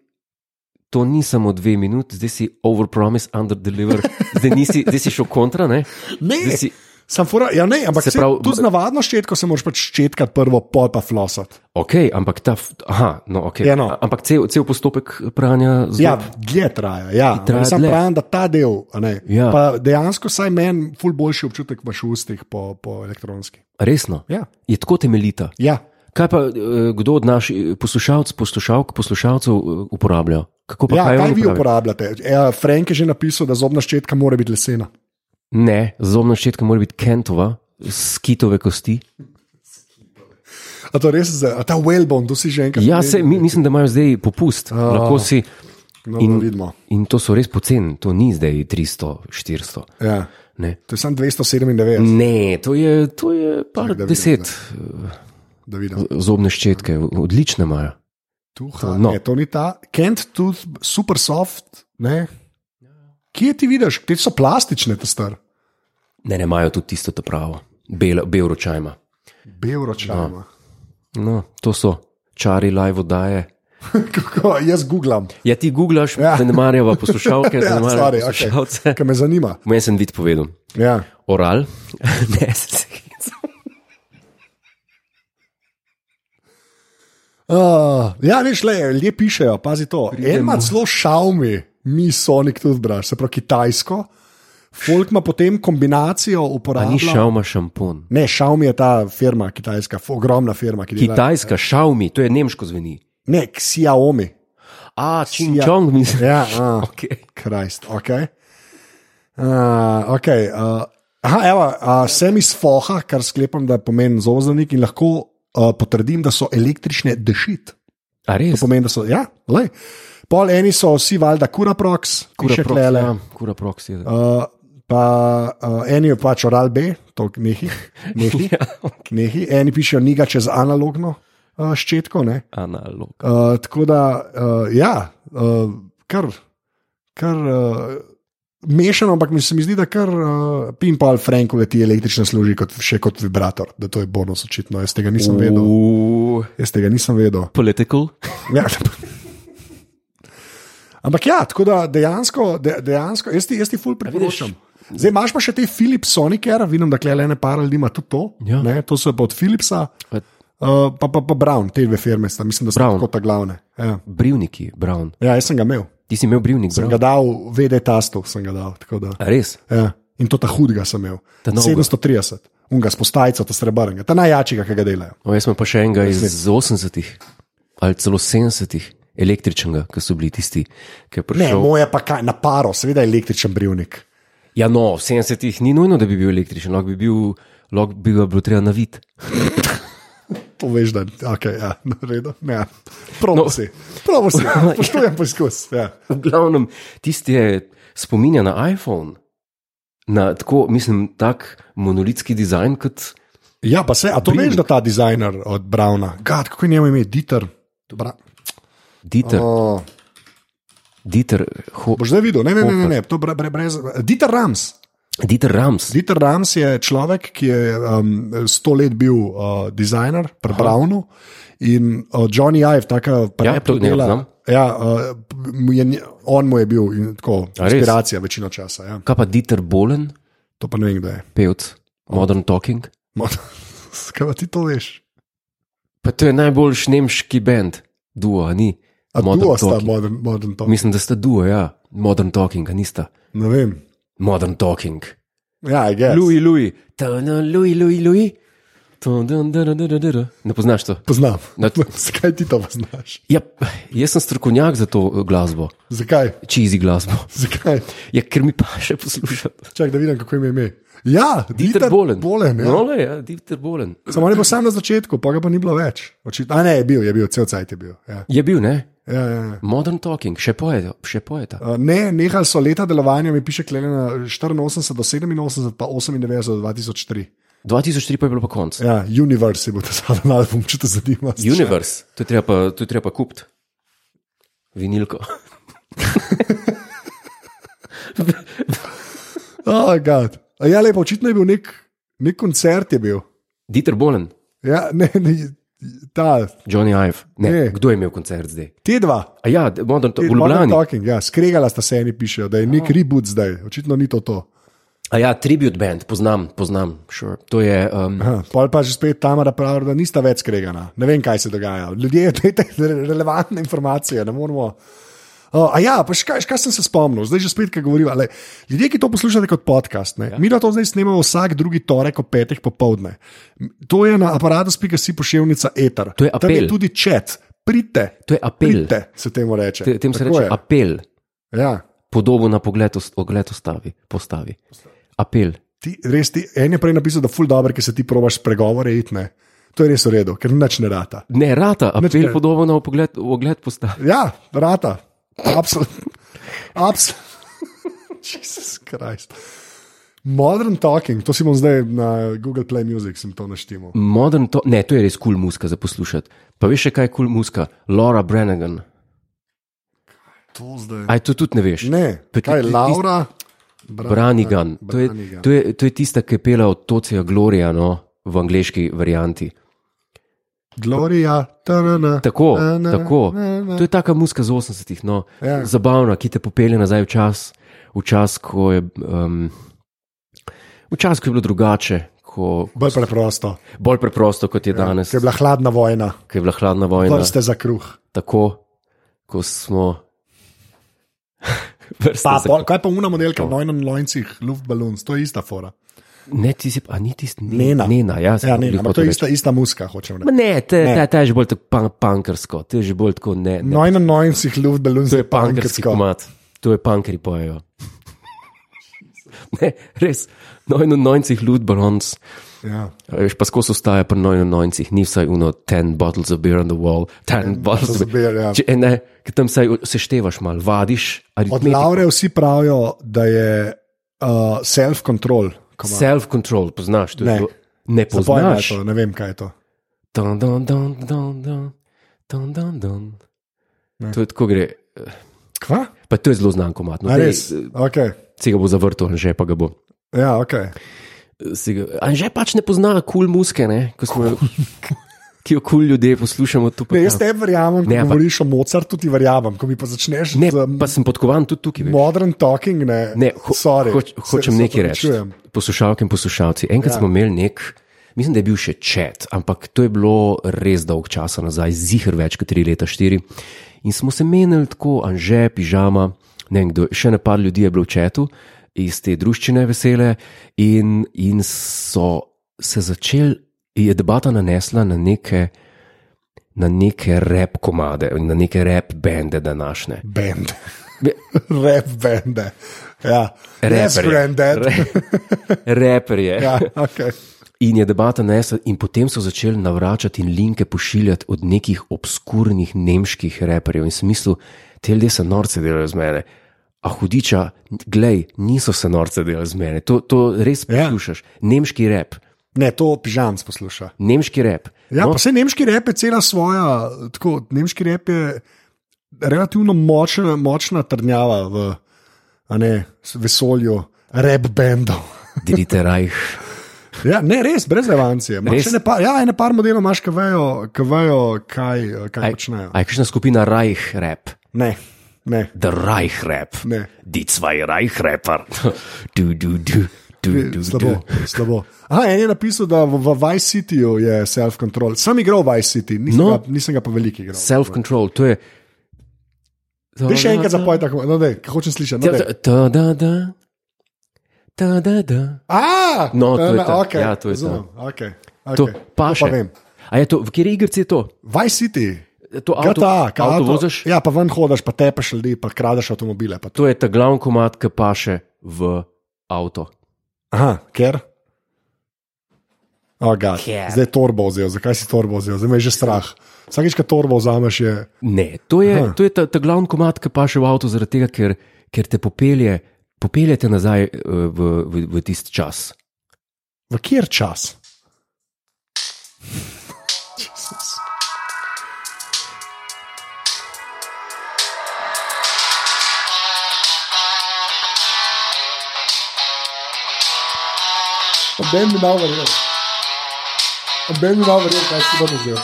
Speaker 1: to ni samo dve minuti, zdaj si overpromise, underdeliver, zdaj, nisi, zdaj si šel kontra. Ne? Zdaj
Speaker 2: Ne,
Speaker 1: si,
Speaker 2: Sam fura, ja, ne, ampak
Speaker 1: Se
Speaker 2: se
Speaker 1: pravi-
Speaker 2: pravi, tu z navadno ščetko se moraš pač ščetkati prvo, pol pa flosati.
Speaker 1: ok, ampak ta. f- Aha, no, ok.
Speaker 2: Ja, no.
Speaker 1: A- Ampak cel, cel postopek pranja z.
Speaker 2: Ja, dlje traja. Ja.
Speaker 1: traja
Speaker 2: Sam
Speaker 1: dlje.
Speaker 2: pravim, da ta del, a ne,
Speaker 1: Ja.
Speaker 2: pa dejansko saj meni ful boljši občutek imaš v ustih po, po elektronski.
Speaker 1: Resno,
Speaker 2: Ja.
Speaker 1: je tako temeljita.
Speaker 2: ja.
Speaker 1: Kaj pa eh, kdo od naših poslušalcev, poslušalk, poslušalcev eh, uporablja? Kako pa
Speaker 2: Ja,
Speaker 1: kaj,
Speaker 2: kaj
Speaker 1: oni
Speaker 2: vi
Speaker 1: uporabljajo?
Speaker 2: uporabljate? Ja, Frank je že napisal, da zobna ščetka mora biti lesena.
Speaker 1: Ne, zobna ščetka mora biti kentova, skitove kosti.
Speaker 2: A to res, za- a ta whalebone, to si že enkrat.
Speaker 1: Ja, se, mi, mislim, da imajo zdaj popust. Lahko si,
Speaker 2: no, in... vidimo.
Speaker 1: in to so res poceni, to ni zdaj 300, 400.
Speaker 2: Ja.
Speaker 1: Ne,
Speaker 2: To je samo 297,
Speaker 1: ne to, je, to je par
Speaker 2: Čak,
Speaker 1: Čak,
Speaker 2: da vidim,
Speaker 1: deset
Speaker 2: da vidim.
Speaker 1: eh, zobne ščetke, odlične imajo.
Speaker 2: Tuha,
Speaker 1: No.
Speaker 2: no. ne, to ni ta. Kent, tudi super soft. Ne? Kje ti vidiš, te so plastične, te star,
Speaker 1: Ne, ne imajo tudi tisto ta pravo, bel, bel ročajma.
Speaker 2: bevročama.
Speaker 1: No, to so čari live oddaje.
Speaker 2: Kako jaz googlam,
Speaker 1: Ja, ti googlaš, ja.
Speaker 2: Ja.
Speaker 1: zanemarjava poslušalke,
Speaker 2: Ja,
Speaker 1: zanemarjava
Speaker 2: sorry,
Speaker 1: ja,
Speaker 2: okej.
Speaker 1: poslušalce. Okay.
Speaker 2: kar me zanima.
Speaker 1: Meni sem vid povedal,
Speaker 2: Ja.
Speaker 1: oral, ne se hecam.
Speaker 2: Uh, ja, veš, le, ljudje pišejo, pazi to. En
Speaker 1: Pridemo.
Speaker 2: ima celo šaumi, mi Sonic tudi braš, se pravi kitajsko. Folk ima potem kombinacijo
Speaker 1: A ni
Speaker 2: uporabljanja.
Speaker 1: šauma šampon.
Speaker 2: Ne, Xiaomi je ta firma, kitajska, f- ogromna firma, ki dela.
Speaker 1: Kitajska, šaumi, to je nemško zveni.
Speaker 2: Ne, Xiaomi.
Speaker 1: A, čingčong, mislim.
Speaker 2: Ja, a.
Speaker 1: Okay.
Speaker 2: Krist, ok. Uh, okay uh, aha, evo, uh, sem iz foha, kar sklepam, da pomeni zozornik in lahko uh, potrdim, da so električne dešit.
Speaker 1: A res?
Speaker 2: Pomeni, da so, ja, lej. Pol eni so vsi valjda kuraproks,
Speaker 1: Kura
Speaker 2: piše
Speaker 1: proks,
Speaker 2: tlele.
Speaker 1: ja, kura proks je.
Speaker 2: Uh, pa uh, eni je pač oral B, to nehi, nehi,
Speaker 1: Ja,
Speaker 2: nehi, eni pišejo niga čez analogno uh, ščetko, ne.
Speaker 1: Analog.
Speaker 2: Uh, tako da, uh, ja, uh, kar, kar uh, mešano, ampak mi se mi zdi, da kar uh, pinball Franko leti električno služi kot, še kot vibrator, da to je bonus očitno. Jaz tega nisem vedel.
Speaker 1: Uuu,
Speaker 2: Jaz tega nisem vedel.
Speaker 1: Political.
Speaker 2: Ja. Ampak ja, tako da dejansko, de, dejansko jaz ti, jaz ti ful priporočam. Zdaj imaš pa še te Philips Sonicare, vidim, da klele ene par ljudi ima tudi to.
Speaker 1: Ja.
Speaker 2: Ne, to so pa od Philipsa,
Speaker 1: Pa
Speaker 2: uh, pa, pa, pa Brown, te dve firme sta, mislim, da so
Speaker 1: Brown.
Speaker 2: kot ta glavne. Ja.
Speaker 1: Brivniki, Brown.
Speaker 2: Ja, jaz sem ga imel.
Speaker 1: Ti si imel brivnik,
Speaker 2: Sem
Speaker 1: Brown.
Speaker 2: ga dal, vede tastov sem ga dal. tako Da,
Speaker 1: A res?
Speaker 2: ja. In to ta hudega sem imel.
Speaker 1: Ta novega.
Speaker 2: 730, unga s postajco, ta srebrnega, ta najjačega, ki ga delajo.
Speaker 1: O, jaz sem pa še enega iz 80-ih ali celo 70-ih, električnega, ki so bili tisti, ki je
Speaker 2: Ne,
Speaker 1: prišel.
Speaker 2: Šel. moje pa kaj, na paro, seveda je električen brivnik.
Speaker 1: Ja, no, v 70-ih ni nujno, da bi bil električen, lahko bi, bil, lahko bi ga bilo treba naviti.
Speaker 2: To veš, da okay, ja, na redu. Ja. Probo no. si, probo si, poštujem poskus. Ja.
Speaker 1: V glavnem, tisti je spominja na iPhone, na tako, mislim, tak monolitski dizajn kot.
Speaker 2: ja, pa se, a to brivnik. veš, da ta dizajner od Brauna, gad, kako je njemu ime, Dieter. Bra
Speaker 1: Dieter, oh.
Speaker 2: oh,
Speaker 1: Dieter, ho,
Speaker 2: boš zdaj videl, ne, ne, ne, ne, ne to bre, bre, brez. Dieter Rams.
Speaker 1: Dieter Rams.
Speaker 2: Dieter Rams je človek, ki je um, sto let bil uh, dizajner pri Brownu in uh, Johnny Ive, tako
Speaker 1: Ja,
Speaker 2: preprosto
Speaker 1: tudi njega
Speaker 2: dela.
Speaker 1: poznam.
Speaker 2: Ja, uh, mu je, nje- on mu je bil in tako,
Speaker 1: A res?
Speaker 2: inspiracija večino časa. Ja.
Speaker 1: Kaj pa Dieter Bolen,
Speaker 2: To pa ne vem, kdo je.
Speaker 1: pevc, Modern Talking?
Speaker 2: Mod- Kaj pa ti to veš?
Speaker 1: Pa to je najboljši nemški bend, duo, a ni.
Speaker 2: A
Speaker 1: Modern
Speaker 2: duo sta
Speaker 1: Talking.
Speaker 2: modern, modern talk.
Speaker 1: Mislim, da sta duo, ja, Modern Talking, a nista.
Speaker 2: Ne vem.
Speaker 1: Modern Talking.
Speaker 2: Ja, je.
Speaker 1: Louis, Louis, Tono, Louis, Louis, Louis. Tun, dun, dun, dun, dun, dun, dun. Ne poznaš to?
Speaker 2: Poznam.
Speaker 1: Na-
Speaker 2: Zakaj ti to pa znaš?
Speaker 1: Ja, jaz sem strokovnjak za to eh, glasbo,
Speaker 2: Zakaj?
Speaker 1: čizi glasbo.
Speaker 2: Zakaj?
Speaker 1: Ja, ker mi pa še poslušati.
Speaker 2: Čak, da vidim, kako jim je ime. Ja,
Speaker 1: Dieter Bolen.
Speaker 2: Bolen ja.
Speaker 1: No, le, ja, Dieter Bolen.
Speaker 2: Samo on je bil sam na začetku, pa ga pa ni bilo več. Očitno. A ne, je bil, je bil, cel cajt je bil. Ja.
Speaker 1: Je bil, ne?
Speaker 2: Ja, ja, ja.
Speaker 1: Modern Talking, še poeta. Še poeta.
Speaker 2: Uh, Ne, nehali so leta delovanja, mi piše klene na 84 do 87, pa 98 do 2003.
Speaker 1: 2004 pa je bilo pa konc.
Speaker 2: Ja, Universe je bil ta zadnji album, če te zanima.
Speaker 1: Universe, to je treba, pa- to je treba kupiti. Vinilko.
Speaker 2: Oh, God. A ja, lepo, očitno je bil nek, nek koncert. Je bil.
Speaker 1: Dieter Bolen,
Speaker 2: Ja, ne, ne, ta,
Speaker 1: Johnny Ive. Ne,
Speaker 2: Ne.
Speaker 1: ne. Kdo je imel koncert zdaj?
Speaker 2: te dva.
Speaker 1: A ja, d- Modern Talking, v
Speaker 2: Modern
Speaker 1: Ljubljani.
Speaker 2: Talking, ja, skregala sta se eni, pišejo, da je nek reboot zdaj, očitno ni to. to.
Speaker 1: A ja, Tribute Band, poznam, poznam. Sure. To je. Um,
Speaker 2: Aha, Pol pa že spet Tamara pravi, da nista več skregana. Ne vem, kaj se dogaja. Ljudje, dajte re- relevantne informacije, ne moramo. Uh, a ja, pa še kaj, še kaj sem se spomnil, zdaj že spet, kaj govorim. Le, ljudje, ki to poslušate kot podcast, ne, ja. mi da to zdaj snemamo vsak drugi torek ob petih popovdne. To je na aparatu.si pošiljka Eter.
Speaker 1: To je
Speaker 2: Tam je
Speaker 1: apel.
Speaker 2: tudi čet, pridite,
Speaker 1: To je apel.
Speaker 2: pridite, se temu reče.
Speaker 1: Te, tem se
Speaker 2: Tako
Speaker 1: reče
Speaker 2: je.
Speaker 1: apel.
Speaker 2: Ja.
Speaker 1: Podobo na pogled, os- ogled ostavi, postavi. Apel.
Speaker 2: Ti, res, ti, en je prej napisal, da je ful dobro, ker se ti probaš pregovore itne. To je res v redu, ker nič ne rata.
Speaker 1: Ne, rata, apel
Speaker 2: ne.
Speaker 1: podobo na pogled, ogled postavi.
Speaker 2: Ja, rata. Absolutno. Absolutno. Jezus Krist. Modern talking, to si bom zdaj na Google Play Music sem to naštimo.
Speaker 1: Modern, to, ne, to je res kul cool muska za poslušati. Pa veš, še kaj je kul cool muska? Laura Brennan.
Speaker 2: To zdaj.
Speaker 1: Aj, to tudi ne veš.
Speaker 2: Ne,
Speaker 1: To je
Speaker 2: kaj je
Speaker 1: tisti-
Speaker 2: Laura? Bra-
Speaker 1: Branigan. To je,
Speaker 2: Branigan.
Speaker 1: to, je, to je tista, ki je pela od Tocija Gloria no, v angliški varianti.
Speaker 2: Gloria, tarana.
Speaker 1: Tako,
Speaker 2: na, na,
Speaker 1: tako.
Speaker 2: na, na.
Speaker 1: To je taka muska z 80-ih, no, ja.
Speaker 2: Ja.
Speaker 1: zabavna, ki te popelje nazaj v čas, v čas, ko je, um, v čas, ko je bilo drugače, ko,
Speaker 2: Bolj preprosto.
Speaker 1: bolj preprosto kot je ja, danes,
Speaker 2: Ker je bila hladna vojna,
Speaker 1: ko je bila hladna vojna.
Speaker 2: vrste za kruh.
Speaker 1: Tako, ko smo. Vrste
Speaker 2: Pa,
Speaker 1: za-
Speaker 2: pol, kaj pa umna model, ki je v nojnem lojncih, luftbalon, to je ista fora.
Speaker 1: Ne, ti si, a ni tisti,
Speaker 2: Nena.
Speaker 1: Nena, ja,
Speaker 2: Ja, ne,
Speaker 1: glih
Speaker 2: ampak
Speaker 1: hotel
Speaker 2: to je
Speaker 1: reči.
Speaker 2: ista, ista muska, hočem
Speaker 1: Ma
Speaker 2: reči.
Speaker 1: Ne, te,
Speaker 2: Ne.
Speaker 1: ne. Ta, ta je že bolj tako pan, pankersko, te je že bolj tako ne. ne.
Speaker 2: Nojnem lojncih, luftbalon, to je
Speaker 1: punkerski
Speaker 2: pankersko.
Speaker 1: komat, to je pankeri pojejo. ne, res, 99 ljudi barons,
Speaker 2: Ja.
Speaker 1: veš pa skozi ostaja pri 99, ni vsaj uno 10 bottles of beer on the wall, 10 bottles of
Speaker 2: of
Speaker 1: beer.
Speaker 2: beer, ja.
Speaker 1: Če, eh, ne, ker tam saj seštevaš mal, vadiš,
Speaker 2: Od
Speaker 1: aritmetiko.
Speaker 2: Laure vsi pravijo, da je uh, self-control. komad.
Speaker 1: Self-control, poznaš to? je
Speaker 2: Ne.
Speaker 1: to- ne
Speaker 2: Za pojma je
Speaker 1: poznaš.
Speaker 2: to, Ne vem, kaj je to.
Speaker 1: Dun, dun, dun, dun, dun, dun, dun, dun. To je tako gre.
Speaker 2: Kva?
Speaker 1: Pa to je zelo znan komat. No,
Speaker 2: A
Speaker 1: daj,
Speaker 2: res? Okay.
Speaker 1: Si ga bo zavrtel, že pa ga bo.
Speaker 2: Ja, okay.
Speaker 1: si ga- Anže pač ne pozna kul cool muske, ne? ko smo jo, ki jo kul cool ljudje poslušamo. to pa
Speaker 2: Ne,
Speaker 1: ja.
Speaker 2: jaz te verjamem, ko
Speaker 1: Ne, ampak-
Speaker 2: govoriš o Mozartu, ti verjamem. Ko mi pa začneš
Speaker 1: ne,
Speaker 2: z um,
Speaker 1: pa sem podkovan tudi tukaj. veš.
Speaker 2: modern talking, ne,
Speaker 1: Ne, ho,
Speaker 2: sorry,
Speaker 1: hoč,
Speaker 2: se-
Speaker 1: hočem
Speaker 2: se
Speaker 1: nekaj reči.
Speaker 2: opravičujem.
Speaker 1: Poslušalke in poslušalci, enkrat ja. smo imeli nek, mislim, da je bil še čet, ampak to je bilo res dolg časa nazaj, zihar več kot tri leta, štiri. In smo se menili tako, anže, pižama, ne vem kdo, še ne par ljudi je bilo v četu iz te druščine vesele in, in so se začeli, je debata nanesla na neke. Na neke rep komade, na neke rep bende današnje.
Speaker 2: Bend.
Speaker 1: Be-
Speaker 2: Rap bende. Ja. Yes, granddad.
Speaker 1: Reper je.
Speaker 2: Ja, okay.
Speaker 1: In je debata nesla, in potem so začeli navračati in linke pošiljati od nekih obskurnih nemških reperjev. In smislu, te ljudje se norce delajo z mene. A hudiča, glej, niso se norce delali z mene. To, to res
Speaker 2: Ja.
Speaker 1: poslušaš. Nemški rep,
Speaker 2: Ne, to pižam posluša.
Speaker 1: nemški rep.
Speaker 2: Ja, no. pa vse nemški rep je cela svoja, tako nemški rep je relativno močna, močna trnjava v a ne, s- vesolju, rep bendov.
Speaker 1: Dirite rajh.
Speaker 2: Ja, ne, res, brez levancije.
Speaker 1: Res?
Speaker 2: Res? Ene par, ja, ene par modelov imaš, ki vejo, ki vejo kaj, kaj
Speaker 1: Aj,
Speaker 2: počnejo.
Speaker 1: aj kakšna skupina Reich rap,
Speaker 2: Ne, ne.
Speaker 1: the Reich rap,
Speaker 2: Ne.
Speaker 1: die zwei Reich rapper. Du, du, du, du, du,
Speaker 2: Slabo,
Speaker 1: du.
Speaker 2: slabo. Aha, en je napisal, da v, v Vice Cityju je self-control. Sam igral v Vice City, nisem,
Speaker 1: No.
Speaker 2: no. ga, nisem ga pa veliko igral.
Speaker 1: Self-control, to je.
Speaker 2: Ti še enkrat zapoj tako, no, dej, hočem slišati. No, dej.
Speaker 1: Ta, da, da. Ta, da, da.
Speaker 2: A,
Speaker 1: No, to je
Speaker 2: ne,
Speaker 1: to.
Speaker 2: okej,
Speaker 1: Ja, to je to.
Speaker 2: razumem, okej, okej.
Speaker 1: To
Speaker 2: pa
Speaker 1: paše.
Speaker 2: vem.
Speaker 1: A je to, v kateri igrici je to?
Speaker 2: Vice City,
Speaker 1: To avto,
Speaker 2: GTA,
Speaker 1: avto
Speaker 2: ka Ja, avto-
Speaker 1: voziš?
Speaker 2: Ja, pa ven hodiš, pa tepeš ljudi, pa kradeš avtomobile. Pa to.
Speaker 1: To je ta glavni komat, ki paše v avto.
Speaker 2: Aha, ker. Oh, God.
Speaker 1: Ker.
Speaker 2: Zdaj je torbo vzel, zakaj si torbo vzel, zdaj me je že strah. Vsakič, ko torbo vzameš, je.
Speaker 1: Ne, to je,
Speaker 2: Aha.
Speaker 1: to je ta, ta glavni komat, ki paše v avto, zaradi tega, ker, ker te popelje, popeljete nazaj eh, v, v, v tisti čas.
Speaker 2: V kjer čas? Oben mi dal verjel. Oben mi dal verjel, kaj si bo doživel.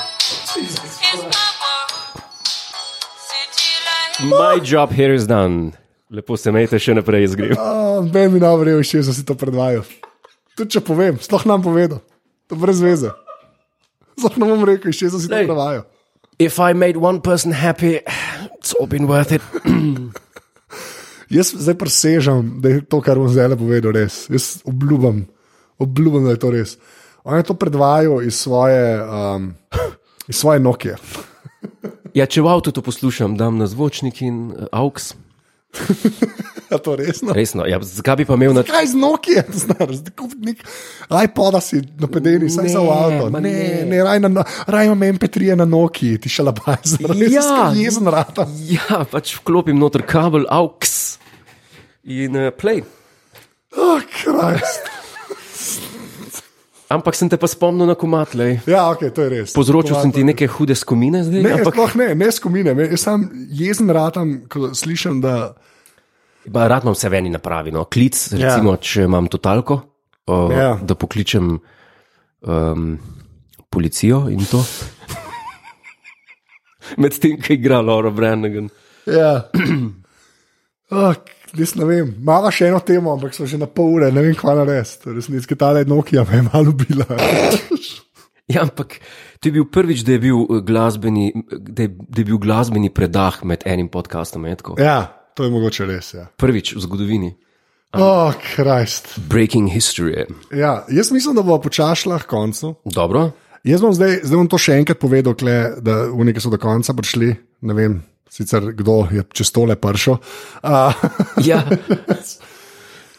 Speaker 1: My job here is done. Lepo se mejte še naprej iz greva.
Speaker 2: Oben mi dal verjel, še jaz sem si to predvajal. Tudi če povem, sploh nam povedal. To brez veze. Sploh ne bom rekel, še jaz sem si to
Speaker 1: Lej.
Speaker 2: predvajal.
Speaker 1: If I made one person happy, it's all been worth it.
Speaker 2: Jaz zdaj presežem, da je to, kar bom zdaj povedal, res. Jaz obljubim, obljubim, da je to res. On je to predvajal iz svoje, um, iz svoje Nokia.
Speaker 1: Ja, če v avtu to poslušam, dam na zvočnik in eh, aux.
Speaker 2: Je to resno?
Speaker 1: Resno, ja, zakaj bi pa imel na
Speaker 2: Kaj z Nokia, znaš, da kupiš nek iPod, si napedeni, saj za avto.
Speaker 1: ma
Speaker 2: Ne,
Speaker 1: ne.
Speaker 2: ne, ne raj, na, no, raj imam MP3 na Nokia, ti še labaj, zraven.
Speaker 1: Ja.
Speaker 2: Ja, jezen rata.
Speaker 1: Ja, pač vklopim noter kabel, aux in uh, play.
Speaker 2: Oh, Krist.
Speaker 1: Ampak sem te pa spomnil na komatlej.
Speaker 2: ja, ok, to je res.
Speaker 1: Povzročil sem ti neke hude skomine zdaj,
Speaker 2: Ne,
Speaker 1: ampak
Speaker 2: sploh ne, ne skomine, me- jaz sam jezen ratam, ko slišim, da.
Speaker 1: ba, rad imam vse v eni napravi. No. Klic, recimo, ja. če imam totalko, uh, ja.
Speaker 2: Ja.
Speaker 1: da pokličem um, policijo in to. Medtem, ko igra Laura Brennan.
Speaker 2: Ja. Oh, Res ne vem, imamo še eno temo, ampak smo že na pol ure, ne vem, kva narediti. Resnici, ta le Nokia me je malo bila.
Speaker 1: Ja, ampak to je bil prvič, da je bil eh, glasbeni, da je, da je bil glasbeni predah med enim podcastom. je tako?
Speaker 2: ja, to je mogoče res. Ja.
Speaker 1: Prvič v zgodovini.
Speaker 2: Oh, Krist.
Speaker 1: Breaking history.
Speaker 2: Ja, jaz mislim, da bo počasi lahko koncu.
Speaker 1: Dobro.
Speaker 2: Jaz bom zdaj, zdaj bom to še enkrat povedal, kle, da unike so do konca prišli. Ne vem, sicer kdo je čez tole pršel. Uh,
Speaker 1: Ja.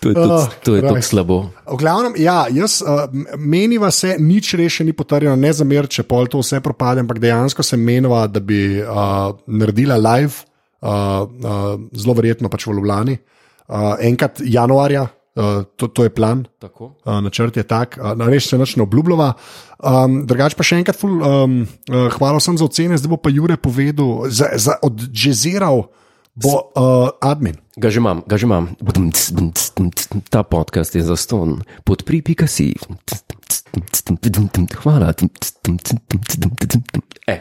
Speaker 1: To je
Speaker 2: Ah,
Speaker 1: tudi- to je tako
Speaker 2: Christ.
Speaker 1: slabo.
Speaker 2: V glavnem, ja, jaz uh, meniva se, nič rešeno ni potrjeno, ne za mir, če pol to vse propade, ampak dejansko se meniva, da bi uh, naredila live, uh, uh, zelo verjetno pač v Ljubljani, uh, enkrat januarja, uh, to, to je plan.
Speaker 1: Tako.
Speaker 2: Uh, načrt je tak, uh, na res se nič ne obljubljava. Um, drugač pa še enkrat, ful, um, uh, hvala sem za ocene, zdaj bo pa Jure povedal, za, za, odžeziral bo uh, admin.
Speaker 1: Ga že imam, ga že imam. Bdmc, bdmc, bdmc. Ta podcast je za ston. Podpri pika si. Hvala. E,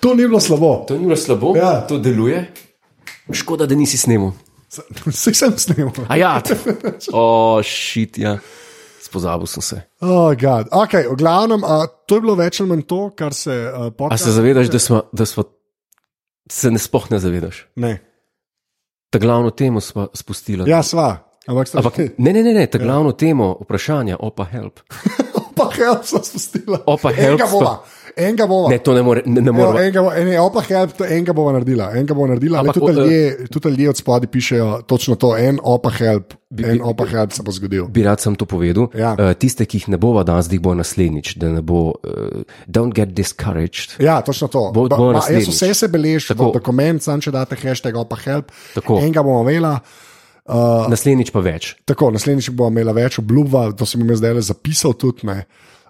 Speaker 2: To ni bilo slabo.
Speaker 1: to ni bilo slabo,
Speaker 2: Ja.
Speaker 1: to deluje. Škoda, da nisi snemal.
Speaker 2: Vse sem snimal.
Speaker 1: A ja, t- o, šit, ja. Spozabil sem se.
Speaker 2: Oh, God. okay, v glavnem, a, to je bilo več ali manj to, kar se uh,
Speaker 1: A
Speaker 2: podcast.
Speaker 1: se zavedaš, da smo, da smo se ne spoh ne zavedaš?
Speaker 2: Ne.
Speaker 1: Ta glavno temo smo spustili.
Speaker 2: Ja, sva. Ampak sta
Speaker 1: Ampak ne, ne, ne, ne, ta glavno temo vprašanja, opa, help.
Speaker 2: opa, help sva spustila.
Speaker 1: Opa, help
Speaker 2: Enega bova. Enega bova.
Speaker 1: Ne, to ne more, ne, ne
Speaker 2: Evo,
Speaker 1: more.
Speaker 2: enega, bo, ene, opa, help, to enega bova naredila. Enega bova naredila.
Speaker 1: Ampak,
Speaker 2: Ampak, tudi,
Speaker 1: o, eh,
Speaker 2: ljudje, tudi ljudje od spodaj pišejo točno to, en opa, help,
Speaker 1: Bi-
Speaker 2: en
Speaker 1: bi-
Speaker 2: opa, help se bo zgodil.
Speaker 1: Bi rad sem to povedal.
Speaker 2: Ja.
Speaker 1: Eh, Tiste, ki jih ne bova danes, jih bo naslednjič, da ne bo, uh, don't get discouraged.
Speaker 2: Ja, točno to.
Speaker 1: Bo-
Speaker 2: Ba-
Speaker 1: bo
Speaker 2: ma, jaz
Speaker 1: naslednjič.
Speaker 2: vse se beležim,
Speaker 1: Tako.
Speaker 2: dokument, sam če date hashtag opa, help.
Speaker 1: Tako.
Speaker 2: Enega bomo imela. Ja.
Speaker 1: Naslednjič pa več.
Speaker 2: Tako, naslednjič bo imela več obljuba, to sem jim zdaj le zapisal tudi. Ne.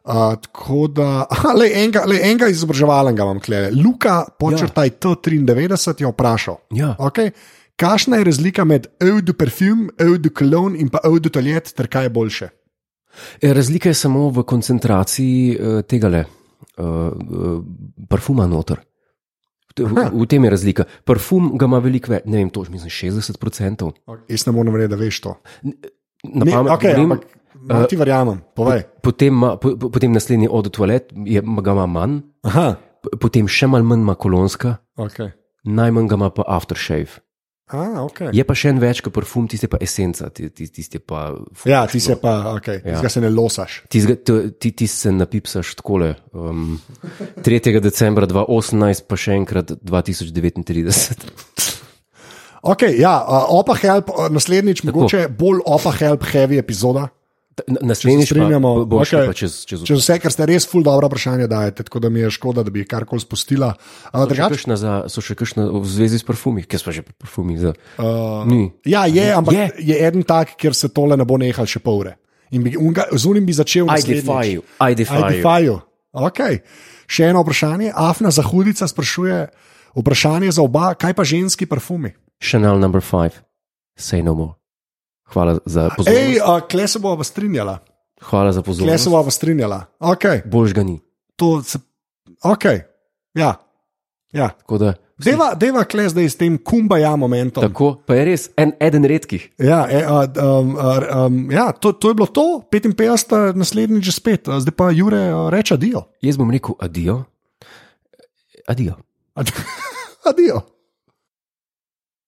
Speaker 2: Uh, tako da, aha, le enega, le enega izobraževalnega imam klede. Luka, počrtaj ja. T93, je vprašal.
Speaker 1: Ja.
Speaker 2: Okay. Kakšna je razlika med eau de parfum, eau de cologne in pa eau de toalet, ter kaj je boljše?
Speaker 1: E, Razlika je samo v koncentraciji uh, tega le, uh, parfuma noter. To je-
Speaker 2: Aha.
Speaker 1: V, v tem je razlika. Parfum ga ima veliko več, ne vem, to je mislim 60%.
Speaker 2: Okay, jaz ne morem reči, da veš to.
Speaker 1: Na
Speaker 2: Ne,
Speaker 1: pamet
Speaker 2: okay,
Speaker 1: govorim.
Speaker 2: ampak, no, ti verjamem, povej.
Speaker 1: Potem, ima- po, po- potem naslednji od toalet je, ga ima manj,
Speaker 2: Aha,
Speaker 1: p- potem še manj manj ima kolonska,
Speaker 2: okay.
Speaker 1: najmanj ga ima pa aftershave.
Speaker 2: A, okay.
Speaker 1: Je pa še en več kot parfum, tiste pa esenca, ti- ti- tiste pa.
Speaker 2: Ja, ti se pa, okay,
Speaker 1: Ja.
Speaker 2: ja. ti se ne losaš.
Speaker 1: Tizga, to- ti, ti se napipsaš takole. Um, 3. decembra 2018, pa še enkrat 2039.
Speaker 2: Okay, ja, uh, opa help, uh, naslednjič, Tako. mogoče bolj opa help heavy epizoda.
Speaker 1: Ta- na- Naslednjič pa
Speaker 2: strinjamo,
Speaker 1: bo šlo
Speaker 2: okej.
Speaker 1: pa čez, čez, čez
Speaker 2: Če vse, ker ste res ful dobro vprašanje dajete, tako da mi je škoda, da bi karkoli spustila. Uh, drugače,
Speaker 1: kakšna za, so še kakšna v zvezi s parfumi, ki smo že pri parfumi. Za,
Speaker 2: uh,
Speaker 1: ni.
Speaker 2: ja, je, ampak
Speaker 1: Je.
Speaker 2: je. je eden tak, kjer se tole ne bo nehal še pol ure. In bi, unga, z unim bi začel
Speaker 1: I
Speaker 2: naslednjič.
Speaker 1: defy you, I defy
Speaker 2: I
Speaker 1: you.
Speaker 2: defy you. Okay. Še eno vprašanje. Afna Zahudica sprašuje, vprašanje za oba, kaj pa ženski parfumi?
Speaker 1: Chanel number 5, say no more. Hvala za
Speaker 2: Ej,
Speaker 1: pozornost.
Speaker 2: uh, kle se bova strinjala.
Speaker 1: Hvala za
Speaker 2: Kle se
Speaker 1: pozornost.
Speaker 2: bova strinjala. Okay.
Speaker 1: Bož ga ni.
Speaker 2: To se. Ok. Ja. ja.
Speaker 1: Tako, da,
Speaker 2: Deva, deva kle zdaj s tem kumbaja momentom.
Speaker 1: tako pa je res en, eden redkih.
Speaker 2: Ja, e, a, um, a, um, ja to, to je bilo to, 55, naslednjič že spet, a zdaj pa Jure a, reče adijo.
Speaker 1: Jaz bom rekel adijo. Adijo.
Speaker 2: Ad- Adijo.